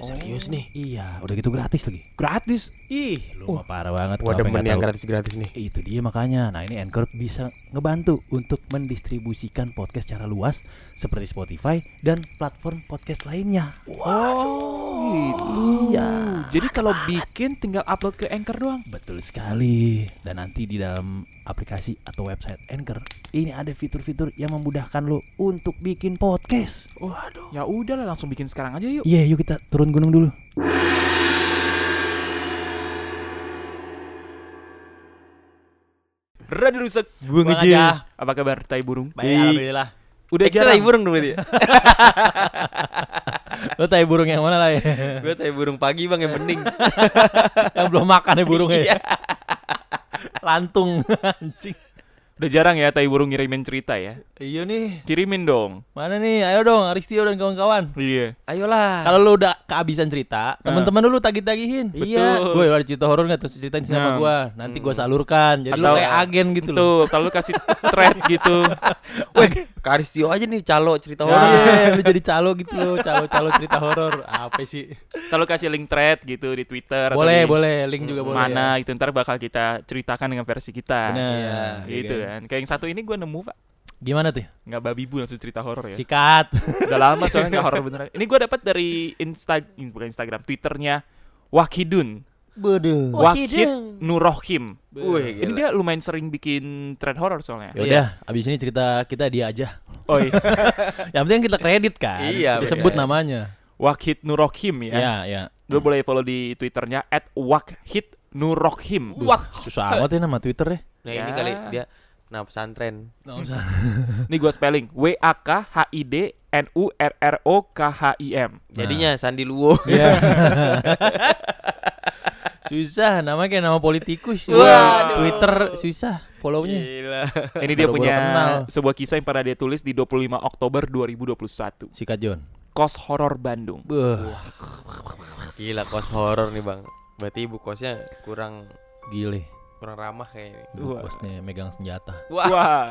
Serius nih. Iya udah gitu gratis lagi Gratis. Eh, Ih, Lu mah parah banget gua kenapa demen nggak yang tahu. gratis-gratis nih. Itu dia makanya. Nah, ini Anchor bisa ngebantu untuk mendistribusikan podcast secara luas seperti Spotify dan platform podcast lainnya. Oh, gitu. Iya. Jadi kalau bikin tinggal upload ke Anchor doang. Betul sekali. Dan nanti di dalam aplikasi atau website Anchor, ini ada fitur-fitur yang memudahkan lo untuk bikin podcast. Waduh. Ya udahlah langsung bikin sekarang aja yuk. Iya, yuk kita turun gunung dulu. Radio rusak. Gua Bang ngejil. aja. Apa kabar tai burung? Baik, Eh, alhamdulillah. Udah eh, kita jarang. tai burung dulu dia. Lo tai burung yang mana lah ya? Gua tai burung pagi, Bang, yang bening. yang belum makan ya burungnya. Lantung anjing. Udah jarang ya tai burung ngirimin cerita ya. Iya nih, Kirimin dong. mana nih? Ayo dong, Aristio dan kawan-kawan. Iya. Ayolah. Kalau lu udah kehabisan cerita, teman-teman lu tagih-tagihin. Iya. Gue ada cerita horor nggak terus ceritain sini sama Nah. gue. Nanti gue salurkan. Jadi lu Atau- kayak agen gitu loh. Tuh, kalau lu kasih thread gitu. Weh, Karistio aja nih calo Oh, cerita orang. iya, lu jadi calo gitu loh, calo-calo cerita horor. Apa sih? Kalau lu kasih link thread gitu di Twitter atau Boleh, di boleh. Link juga boleh. mana gitu ntar bakal kita ceritakan dengan versi Ya. kita. Bener. Gitu Iya. kan. Kayak yang satu ini gua nemu, Pak. Gimana tuh? Nggak babi bu langsung cerita horor ya. Sikat. Udah lama soalnya nggak horor beneran. Ini gue dapat dari Insta in- bukan Instagram, Twitternya Wakidun. Bodoh. Wakid Nurohim. Wih, Ini dia lumayan sering bikin thread Ya horor soalnya. udah, abis ini cerita kita dia aja. Oi, Yang penting kita kredit kan. Iya, Disebut bener. namanya. Wakid Nurohim ya. Iya, iya. Lo boleh follow di Twitternya @wakidnurohim. Wah, susah amat ya nama Twitter ya. Nah, ini Ya. kali dia nah pesantren. Ini gue spelling W A K H I D N U R R O K H I M. Jadinya Sandi Luwo. Iya. susah, namanya kayak nama politikus. Waduh. Twitter susah Iya. follow-nya. Gila. Ini dia Baru gua punya kenal. sebuah kisah yang pernah dia tulis di 25 Oktober 2021. Sikat John. Kos Horor Bandung. Beuh, Gila kos horor nih, Bang. Berarti ibu kosnya kurang gile. kurang ramah kayaknya. Ibu Wah. Bosnya megang senjata. Wah. Wah.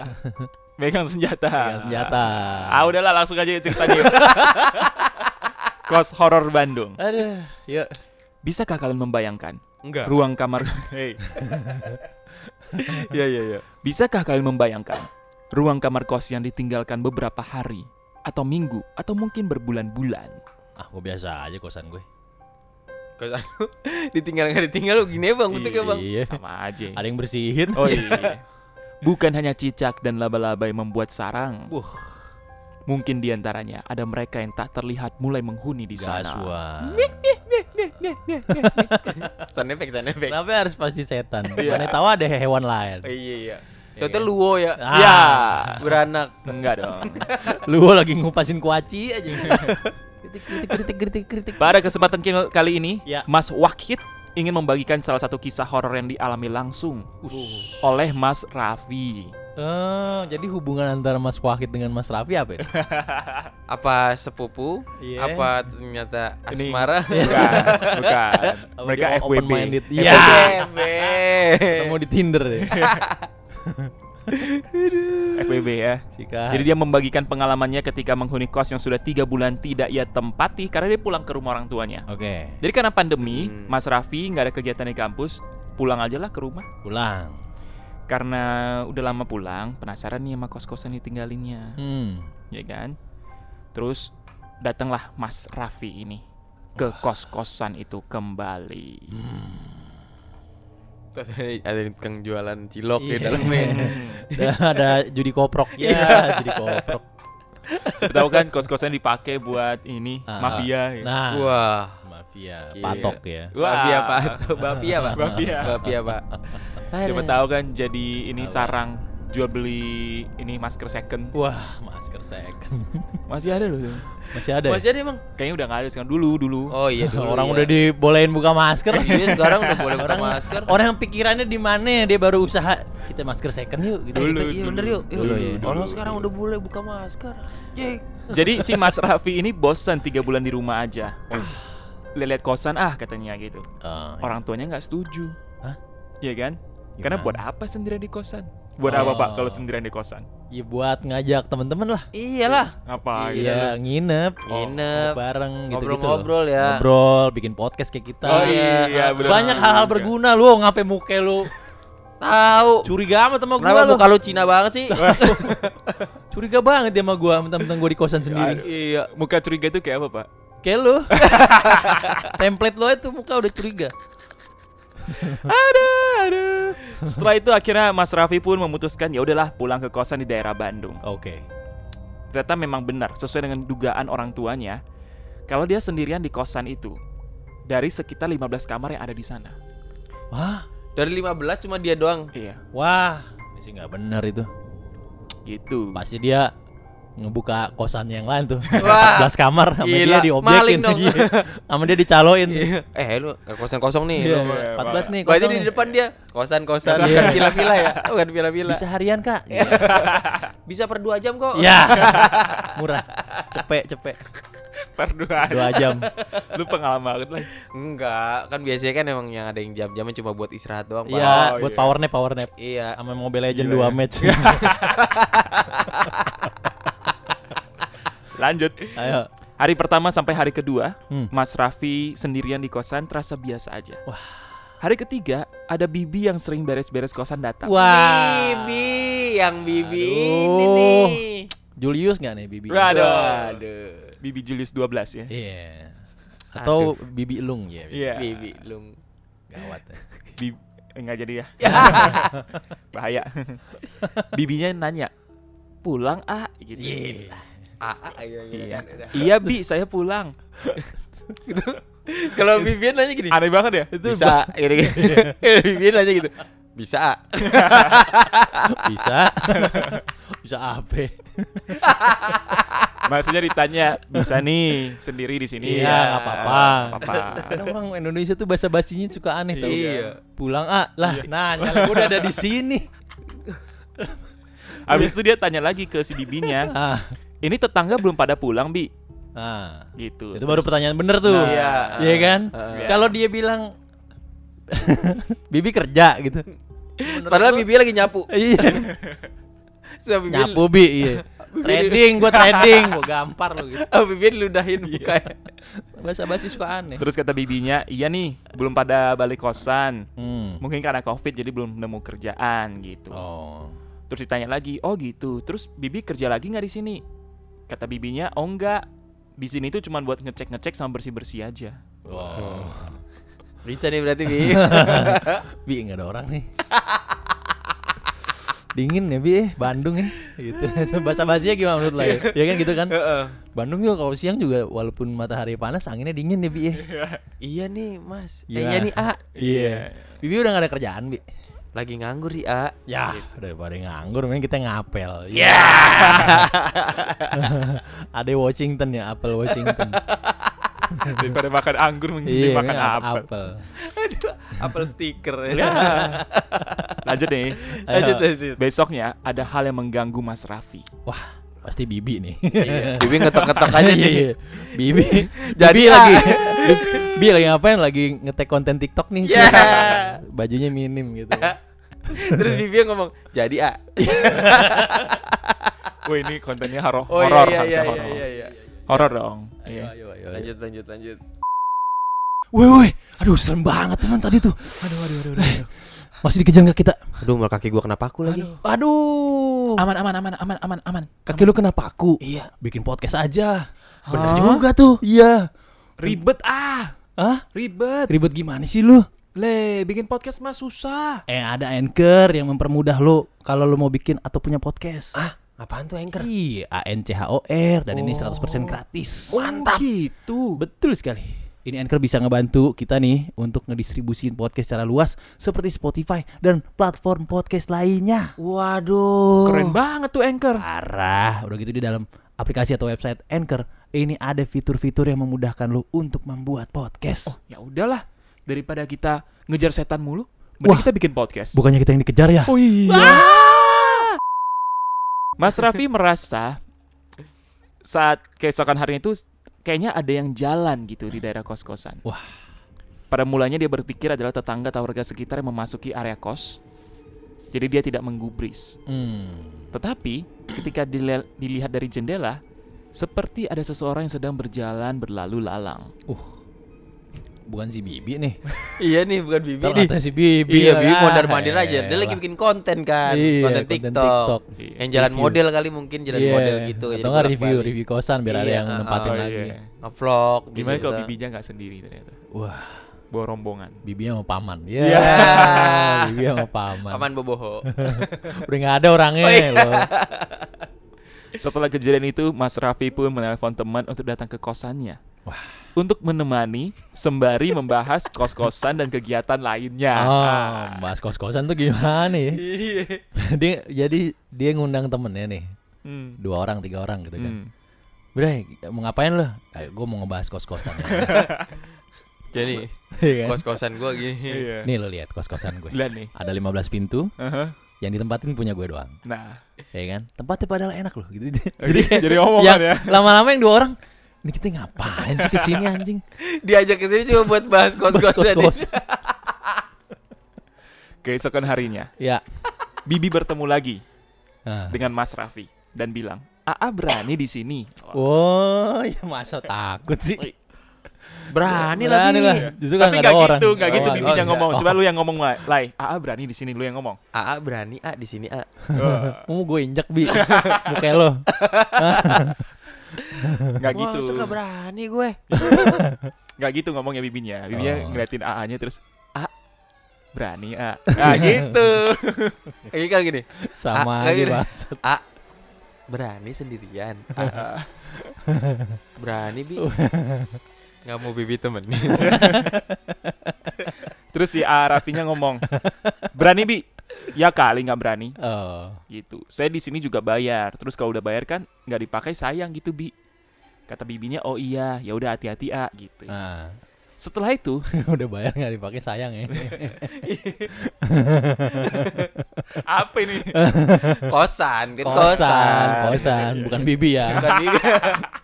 Megang senjata. Megang senjata. Ah udahlah langsung aja yuk ceritanya. yuk. Kos horor Bandung. Aduh, yuk. Bisakah kalian membayangkan Enggak. ruang kamar? Hei. Iya, iya, iya. Bisakah kalian membayangkan ruang kamar kos yang ditinggalkan beberapa hari atau minggu atau mungkin berbulan-bulan? Ah, gua biasa aja kosan gue. Kos anu ditinggal enggak ditinggal lu gini ya, Bang, betul enggak, Bang? Iya. Sama aja. Ada yang bersihin. Oh iya. Bukan hanya cicak dan laba-laba yang membuat sarang. Wuh. Mungkin diantaranya ada mereka yang tak terlihat mulai menghuni di sana. Gaswa. Sound effect, sound effect. Kenapa ya harus pasti setan? Iya. Mana tahu ada hewan lain. Iya, iya. Soalnya Luwo ya. Ya, Beranak. enggak dong. Lu lagi ngupasin kuaci aja. kritik, kritik, kritik, kritik, kritik. Pada kesempatan ki- kali ini, Ya. Mas Wakid ingin membagikan salah satu kisah horor yang dialami langsung oleh Mas Raffi. Eh, jadi hubungan antara Mas Wahid dengan Mas Raffi apa ya? Apa sepupu? Iya. Apa ternyata Ini- Iya. asmara? Bukan, bukan. Apa Mereka Iya. Oh, dia FWB. open-minded? FWB. Iya. Bebe. Ketemu di Tinder ya. FWB ya. Sikat. Jadi dia membagikan pengalamannya ketika menghuni kos yang sudah tiga bulan tidak ia tempati karena dia pulang ke rumah orang tuanya. Oke, Jadi karena pandemi, Hmm. Mas Raffi nggak ada kegiatan di kampus, pulang aja lah ke rumah. pulang. Karena udah lama pulang, penasaran nih sama kos-kosan ditinggalinnya. Hmm. ya kan? Terus datanglah Mas Raffi ini ke kos-kosan itu kembali. Iya. Hmm. Ada tukang jualan cilok di dalamnya. Dah ada judi koprok. Ya, judi koprok. Siapa tahu kan kos-kosan dipakai buat ini Ah, mafia. ya. Nah, Wah. mafia Gila. patok ya. Wah. Bapia Pak. Bapia Pak. Bapia. Bapia Pak. Siapa Nah. tahu kan jadi ini Apa? sarang jual beli ini masker second. Oh. Wah, masker second. Masih ada loh. tuh. Masih ada. ya? Masih ada emang? Kayaknya udah nggak ada sekarang dulu dulu. Oh iya dulu orang iya. udah dibolehin buka masker. Iya sekarang udah boleh pakai orang masker. Orang yang pikirannya di mana dia baru usaha kita masker second yuk gitu. Dulu, Iya bener yuk. yuk. Dulu ya. Orang sekarang udah boleh buka masker. Yey. Jadi si Mas Raffi ini bosan tiga bulan di rumah aja. Ah. Lihat kosan ah katanya gitu. Eh, Oh, Ah, Orang tuanya nggak setuju. Hah? Iya kan? Karena Gimana? buat apa sendirian di kosan? Buat apa pak kalau sendirian di kosan? Ya buat ngajak temen-temen lah. Iyalah. Apa? gitu? Iya, nginep. Oh, Nginep nginep, bareng gitu gitu. ngobrol-ngobrol ya. Ngobrol, bikin podcast kayak kita. Oh iya, bener Banyak juga. hal-hal berguna lu, ngapain muke lu? Tahu. Curiga amat sama gua Kenapa lu. muka lu Cina banget sih? Curiga banget dia sama gua, mentang-mentang gua di kosan sendiri. iya. Muka curiga itu kayak apa pak? Kayak lu. Template lu itu muka udah curiga. Aduh, aduh. Setelah itu akhirnya Mas Raffi pun memutuskan ya udahlah pulang ke kosan di daerah Bandung. Oke. ternyata memang benar sesuai dengan dugaan orang tuanya kalau dia sendirian di kosan itu dari sekitar 15 kamar yang ada di sana. Wah, Dari 15 cuma dia doang. Iya, Wah, sih nggak benar itu. gitu. pasti dia ngebuka kosan yang lain tuh. Wah. 14 kamar sama dia Gila, diobjekin. maling dong. Iya. Sama dia dicaloin. Eh lu eh, kosan kosong nih. Iya, Lu- 14 nih Berarti kosong di nih. depan dia kosan-kosan, Iya. bukan villa-villa ya. Bukan villa-villa. Bisa harian kak? Iya. Bisa per 2 jam kok. Ya. Murah. Cepet, cepet. Perduaan. 2 jam. Lu pengalaman banget lah. Enggak, kan biasanya kan emang yang ada yang jam-jamnya cuma buat istirahat doang, Pak. Iya, Oh, buat iya. power nap, power nap. Iya. Sama Mobile Legend Gila 2 match. Lanjut. Ayo. Hari pertama sampai hari kedua, Hmm. Mas Raffi sendirian di kosan terasa biasa aja. Hari ketiga, ada Bibi yang sering beres-beres kosan datang. Wah. Bibi, yang Bibi ini Aduh. nih. Julius nggak nih Bibi? Iya. Waduh. Waduh. Bibi Julius 12 ya. Atau Bibi Lung ya. Iya. Bibi lung. Gawat. ya. Bibi enggak jadi ya. Bahaya. Bibinya nanya, "Pulang ah?" gitu. Iya. Aa iya iya. Iya. kan, udah. Iya bi, saya pulang. Kalau Bibi nanya gini, Aneh banget ya. bisa gitu gitu. Bibi nanya gitu. Bisa. A." Bisa. Bisa AP. Maksudnya ditanya bisa nih sendiri di Iya, sini. "Ah, nggak apa-apa. Nggak apa-apa. Karena orang Indonesia tuh bahasa basinya suka aneh tau. Iya. Pulang ah lah. Nanya lah, gua udah ada di sini. Abis itu dia tanya lagi ke si bibinya, Ah. ini tetangga belum pada pulang bi, Ah. gitu. Itu baru pertanyaan bener tuh. Iya. Iya kan? Iya. Kalau dia bilang Bibi kerja gitu. Padahal Bibi lagi nyapu. Iya. Sama Bibi. Nyapu bi, iya. trading, gua trading, gua gampar lu gitu. Oh, Bibi ludahin ya. mukanya. Bahasa basi suka aneh. Eh. Terus kata bibinya, iya nih belum pada balik kosan. Hmm. Mungkin karena covid jadi belum nemu kerjaan gitu. Oh. Terus ditanya lagi, oh gitu. Terus bibi kerja lagi nggak di sini? Kata bibinya, oh enggak. Di sini tuh cuma buat ngecek-ngecek sama bersih-bersih aja. Wow. Bisa nih berarti Bibi. Bi enggak ada orang nih. Dingin ya Bi, eh, Bandung ya gitu. Bahasa basinya gimana menurut lo ya? Ya kan gitu kan. Heeh. Bandung juga kalau siang juga walaupun matahari panas anginnya dingin ya Bi ya. Iya nih, Mas. Eh, Iya. Iya nih, A. Iya. Bibi udah gak ada kerjaan Bi. Lagi nganggur sih, A. Ya, daripada nganggur mending kita ngapel. Ya. ada Washington ya, Apple Washington. Daripada makan anggur mending iya, makan kan apel. Aduh, apel stiker. Ya. Lanjut nih. Lanjut, Ayo. lanjut. Besoknya ada hal yang mengganggu Mas Raffi. Wah, pasti Bibi nih. Bibi ngetok-ngetok aja Iya, nih. iya. Bibi. Jadi, Bibi ah. lagi. Bibi lagi ngapain? Lagi ngetek konten TikTok nih. Ya. Bajunya minim gitu. Terus Bibi yang ngomong, "Jadi, A." Wah ini kontennya horor, Oh horor iya iya harusnya iya horor. iya iya. Horor dong. Iya. ayo, ayo. Lanjut lanjut lanjut. Woi woi, aduh serem banget teman tadi tuh. Aduh aduh aduh. Masih dikejar nggak kita? Aduh, mal kaki gua kenapa aku lagi? Aduh, Aman aman aman aman aman aman. kaki lu kenapa aku? Iya. Bikin podcast aja. Bener juga tuh. Iya. Oh, Ribet ah, Hah? ribet. Ribet gimana sih lu? Le, bikin podcast mah susah. Eh ada anchor yang mempermudah lu kalau lu mau bikin atau punya podcast. Ah, apaan tuh anchor? Iya, A N C H O R dan ini 100% gratis. Oh, Mantap. Gitu. Betul sekali. Ini Anchor bisa ngebantu kita nih untuk ngedistribusin podcast secara luas seperti Spotify dan platform podcast lainnya. Waduh. Keren banget tuh anchor. Ah. Parah, udah gitu di dalam aplikasi atau website Anchor, ini ada fitur-fitur yang memudahkan lo untuk membuat Oh. podcast. Ya udahlah, daripada kita ngejar setan mulu, mending Wah. kita bikin podcast. Bukannya kita yang dikejar ya? Oh iya. Mas Raffi merasa saat keesokan harinya itu kayaknya ada yang jalan gitu di daerah kos-kosan. Wah. Pada mulanya dia berpikir adalah tetangga atau warga sekitar yang memasuki area kos. Jadi dia tidak menggubris. Hmm. Tetapi ketika dile- dilihat dari jendela, seperti ada seseorang yang sedang berjalan berlalu lalang. Bukan si Bibi nih. Iya nih bukan Bibi Ntar nih. katanya si Bibi. Iya, lah. Bibi kan? mondar mandir Ah, aja. Dia lagi elah. bikin konten kan, Iya, konten TikTok. Iya. Yang jalan Review. model kali mungkin jalan Iya. model gitu. Atau nggak review review kosan biar ada Iya, yang ah, nempatin oh lagi. ya. Ngevlog Gimana gitu. kalau bibinya nggak sendiri ternyata? Wah, Bawa rombongan. Bibi sama paman. Ya. Iya. Bibi sama paman. Paman boboho. Udah nggak ada orangnya Oh, iya. loh. Setelah kejadian itu, Mas Raffi pun menelpon teman untuk datang ke kosannya. Untuk menemani sembari membahas kos-kosan dan kegiatan lainnya. Oh, Ah. bahas kos-kosan tuh gimana ya? Iya. dia jadi dia ngundang temennya nih, Hmm. dua orang, tiga orang gitu kan. Hmm. Bre, mau ngapain lo? Ayo, gue mau ngebahas kos-kosan. ya." Jadi Iya kan? kos-kosan gua gini. Iya. Nih lo lihat kos-kosan gue. Lihat nih. Ada 15 pintu, Aha. yang ditempatin punya gue doang. Nah, ya kan tempatnya padahal enak loh gitu jadi jadi yang omongan ya. lama-lama yang dua orang ini kita ngapain sih kesini anjing Diajak ke sini cuma buat bahas kos-kosan. Kos-kos. Keesokan harinya, ya Bibi bertemu lagi Ah. dengan Mas Raffi dan bilang, "Aa berani di sini." Wah. oh ya masa takut sih Berani lah Bi. justru kan nggak Tapi nggak ada orang iya. gitu, nggak Oh, gitu nggak- oh, Bibi yang nggak. ngomong. Coba lu yang ngomong, Lai. Lai. Aa berani di sini, lu yang ngomong. AA berani A di sini A. mau gue injak bi muka lo Nggak Wah, gitu. masa nggak berani gue. Nggak gitu ngomongnya bibinya. Bibinya Oh. ngeliatin AA-nya terus, "A berani, A." Nah, gitu. Ah, Kayak kan gini. sama Ah, aja kayak bang A berani sendirian. A. berani bi. Nggak mau bibi temen. Terus si A Rafinya ngomong, "Berani, Bi?" Ya kali nggak berani oh gitu. Saya di sini juga bayar. Terus kalau udah bayar kan nggak dipakai sayang gitu, Bi. Kata bibinya, "Oh iya, ya udah hati-hati, A." gitu. ah. Setelah itu, udah bayar nggak dipakai sayang ya apa ini? kosan, kan kosan kosan. kosan bukan bibi ya Bukan bibi.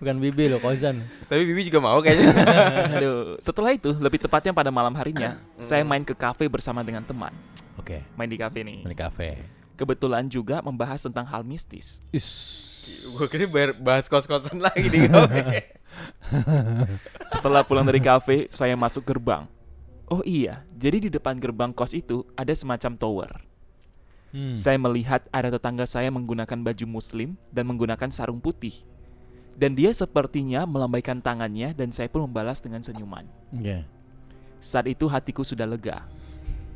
bukan bibi lo kosan Tapi bibi juga mau kayaknya. Aduh, setelah itu lebih tepatnya pada malam harinya, saya main ke kafe bersama dengan teman. oke Main di kafe nih. ini kafe Kebetulan juga membahas tentang hal mistis. Is. gue kira bayar- bahas kos-kosan lagi di kafe. Setelah pulang dari kafe, saya masuk gerbang. Oh iya, jadi di depan gerbang kos itu ada semacam tower. Hmm. Saya melihat ada tetangga saya menggunakan baju muslim dan menggunakan sarung putih. Dan dia sepertinya melambaikan tangannya dan saya pun membalas dengan senyuman. Iya. Saat itu hatiku sudah lega.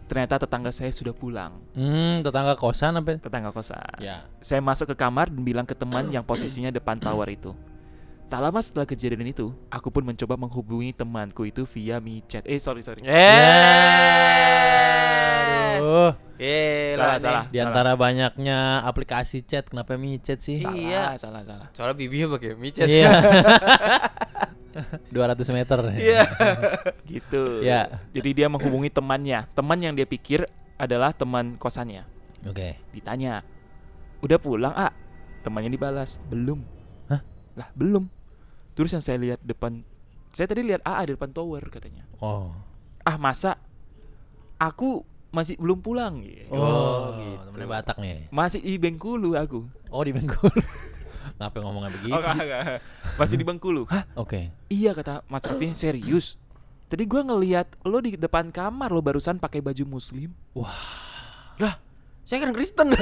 Ternyata tetangga saya sudah pulang, Hmm, tetangga kosan apa? tetangga kosan. Ya. Saya masuk ke kamar dan bilang ke teman yang posisinya depan tower itu. Tak lama setelah kejadian itu, aku pun mencoba menghubungi temanku itu via mi chat. Eh, sorry, sorry. Eh. Oh, Gila Salah, nih. salah. di antara banyaknya aplikasi chat, kenapa micet sih? Salah, Iya. salah, salah. Soalnya bibi pakai micet. Iya. 200 meter. Iya. Gitu. Ya. Jadi dia menghubungi temannya. Teman yang dia pikir adalah teman kosannya. Oke. Ditanya, "Udah pulang, ah Temannya dibalas, "Belum." Hah? Lah, belum. Terus yang saya lihat depan saya tadi lihat AA di depan tower katanya. Oh. Ah, masa aku masih belum pulang gitu. Oh, gitu. temennya Batak nih. Masih di Bengkulu aku. Oh, di Bengkulu. Ngapain ngomongnya begitu? Oh, sih? kagak. Masih di Bengkulu. Hah? Oke. Iya kata Mas Raffi, serius. Tadi gua ngelihat lo di depan kamar lo barusan pakai baju muslim. Saya kan Kristen.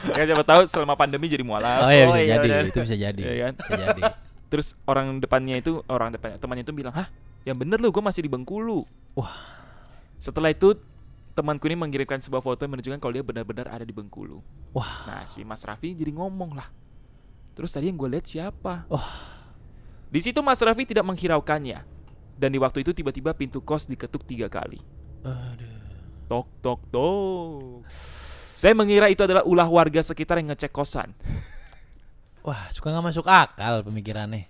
Ya siapa tahu selama pandemi jadi mualaf. Oh, iya Oh, bisa iya, jadi. benar. Itu bisa jadi. Iya kan? Bisa jadi. Terus orang depannya itu orang depannya temannya itu bilang, "Hah? Yang bener lu gua masih di Bengkulu." Wah. Setelah itu temanku ini mengirimkan sebuah foto yang menunjukkan kalau dia benar-benar ada di Bengkulu. Wah. Nah, si Mas Raffi jadi ngomong lah. Terus tadi yang gue lihat siapa? Wah. Di situ Mas Raffi tidak menghiraukannya. Dan di waktu itu tiba-tiba pintu kos diketuk tiga kali. Tok tok tok. Saya mengira itu adalah ulah warga sekitar yang ngecek kosan. Wah, suka nggak masuk akal pemikirannya.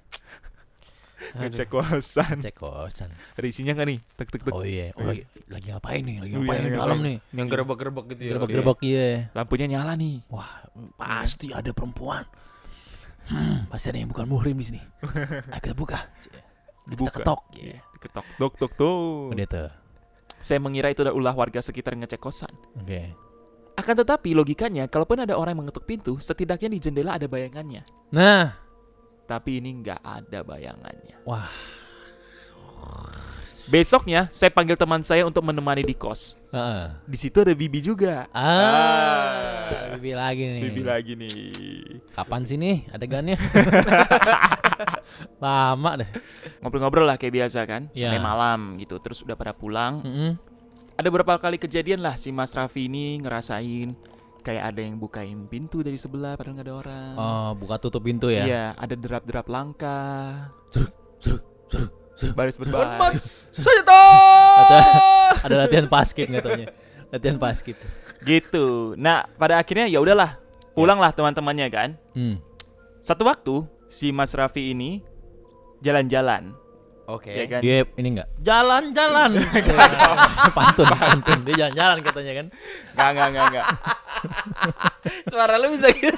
ngecek kosan. Cek kosan. Ada isinya nggak nih? Tek tek tek. Oh iya, oh, lagi, lagi ngapain nih? Lagi Iya, ngapain di ngapain. dalam nih? Yang gerebek-gerebek gitu ya. Gerbek-gerbek iya. Lampunya nyala nih. Wah, pasti ada perempuan. Hmm, pasti ada yang bukan muhrim di sini. Ayo kita buka. Kita Dibuka. ketok. Iya, Diketok. Tok tok tok. Udah tuh. Saya mengira itu adalah ulah warga sekitar ngecek kosan. Oke. Akan tetapi logikanya, kalaupun ada orang yang mengetuk pintu, setidaknya di jendela ada bayangannya. Nah, Tapi ini nggak ada bayangannya. Wah. Besoknya, saya panggil teman saya untuk menemani di kos. heeh. Di situ ada Bibi juga. Ah, bibi lagi nih. Bibi lagi nih. Kapan sih nih adegannya? Lama deh. Ngobrol-ngobrol lah kayak biasa kan. Iya. Kayak malam gitu. Terus udah pada pulang. Mm-mm. Ada beberapa kali kejadian lah si Mas Raffi ini ngerasain kayak ada yang bukain pintu dari sebelah padahal nggak ada orang. Oh, buka tutup pintu ya. Iya, ada derap-derap langkah. Truk, truk, truk, truk. Baris berbaris. Atau ada latihan basket katanya. Latihan basket. gitu. Nah, pada akhirnya ya udahlah. Pulanglah teman-temannya kan. Hmm. Satu waktu si Mas Raffi ini jalan-jalan, Oke. ya kan? Dia ini enggak jalan-jalan. pantun, pantun. Dia jalan-jalan katanya kan. Enggak, enggak, enggak, enggak. Suara lu bisa gitu.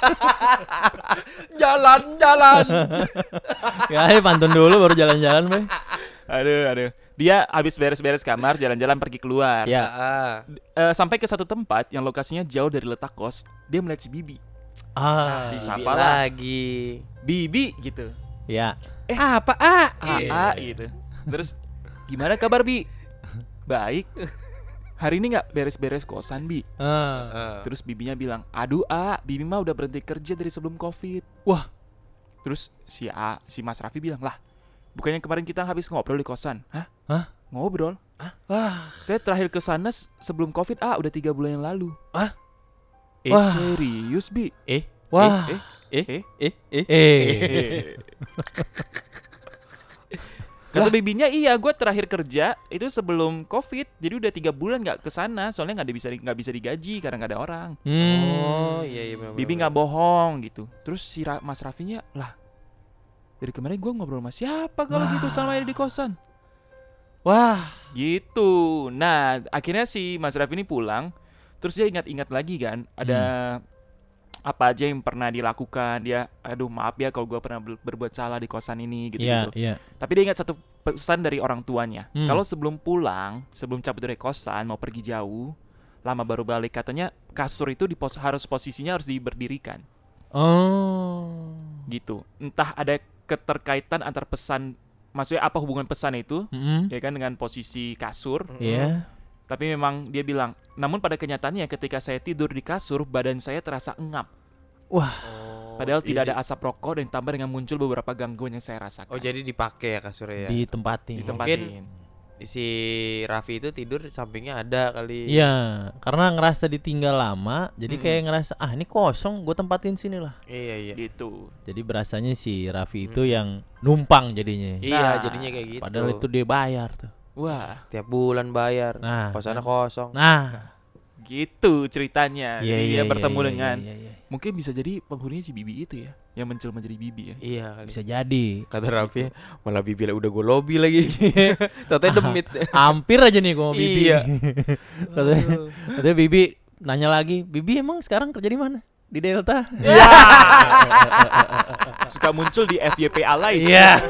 jalan, jalan. Ya, ini pantun dulu baru jalan-jalan, Be. Aduh, aduh. Dia habis beres-beres kamar, jalan-jalan pergi keluar. Ya. Ah. Eh, sampai ke satu tempat yang lokasinya jauh dari letak kos, dia melihat si Bibi. Ah, Disapa Disapa lah. lagi. Bibi gitu. ya. Eh, apa? Ah, iya, ah, gitu. Terus gimana kabar, Bi? Baik. Hari ini nggak beres-beres kosan, Bi. Ah. Ah. Terus bibinya bilang, aduh A, bibi mah udah berhenti kerja dari sebelum covid Wah. Terus si A, si Mas Raffi bilang, lah bukannya kemarin kita habis ngobrol di kosan Hah? Hah? Ngobrol? Wah, Saya terakhir ke sana s- sebelum covid A, udah tiga bulan yang lalu Hah? Eh Wah. serius Bi? Eh, wah. Eh, eh, eh, eh, eh. Eh. Kata bibinya iya, gue terakhir kerja itu sebelum covid, jadi udah tiga bulan nggak ke sana, soalnya nggak ada bisa nggak bisa digaji karena nggak ada orang. Hmm. Oh, iya iya benar. Bibi nggak bohong gitu. Terus si Ra- Mas Rafinya lah dari kemarin gue ngobrol sama siapa kalau gitu sama ini di kosan. Wah. Gitu. Nah akhirnya si Mas Raffi ini pulang. Terus dia ingat-ingat lagi kan ada Hmm. apa aja yang pernah dilakukan dia. Aduh maaf ya kalau gue pernah ber- berbuat salah di kosan ini gitu. Iya, gitu iya. Tapi dia ingat satu pesan dari orang tuanya. Hmm. Kalau sebelum pulang, sebelum cabut dari kosan mau pergi jauh, lama baru balik katanya kasur itu dipos- harus posisinya harus diberdirikan. Oh. gitu. Entah ada keterkaitan antar pesan, maksudnya apa hubungan pesan itu, Mm-mm. ya kan dengan posisi kasur. Iya. Tapi memang dia bilang, namun pada kenyataannya ketika saya tidur di kasur, badan saya terasa engap. Oh, Padahal iya tidak sih. ada asap rokok dan tambah dengan muncul beberapa gangguan yang saya rasakan. Oh, jadi dipakai ya kasurnya ya. Ditempatin. Ditempatin. si Raffi itu tidur sampingnya ada kali. Iya, karena ngerasa ditinggal lama, jadi Mm-mm. kayak ngerasa ah ini kosong, gue tempatin sini lah. Iya iya. Gitu. Jadi berasanya si Raffi itu Hmm. yang numpang jadinya. Iya, Nah, jadinya kayak gitu. Padahal itu dia bayar tuh. Wah, tiap bulan bayar. Nah, Kosannya kosong. nah, gitu ceritanya. iya, Jadi iya, iya, dia bertemu iya, dengan iya, iya, iya. mungkin bisa jadi penghuninya si Bibi itu ya, yang menjelma jadi Bibi ya. Iya kali. bisa jadi. Kata Raffi malah bibi lah, udah gue lobby lagi. Tata demit. Hampir aja nih gua sama Bibi. Iya. katanya, katanya Bibi nanya lagi, Bibi emang sekarang kerja di mana? Di Delta. Suka muncul di FYP alay. Iya.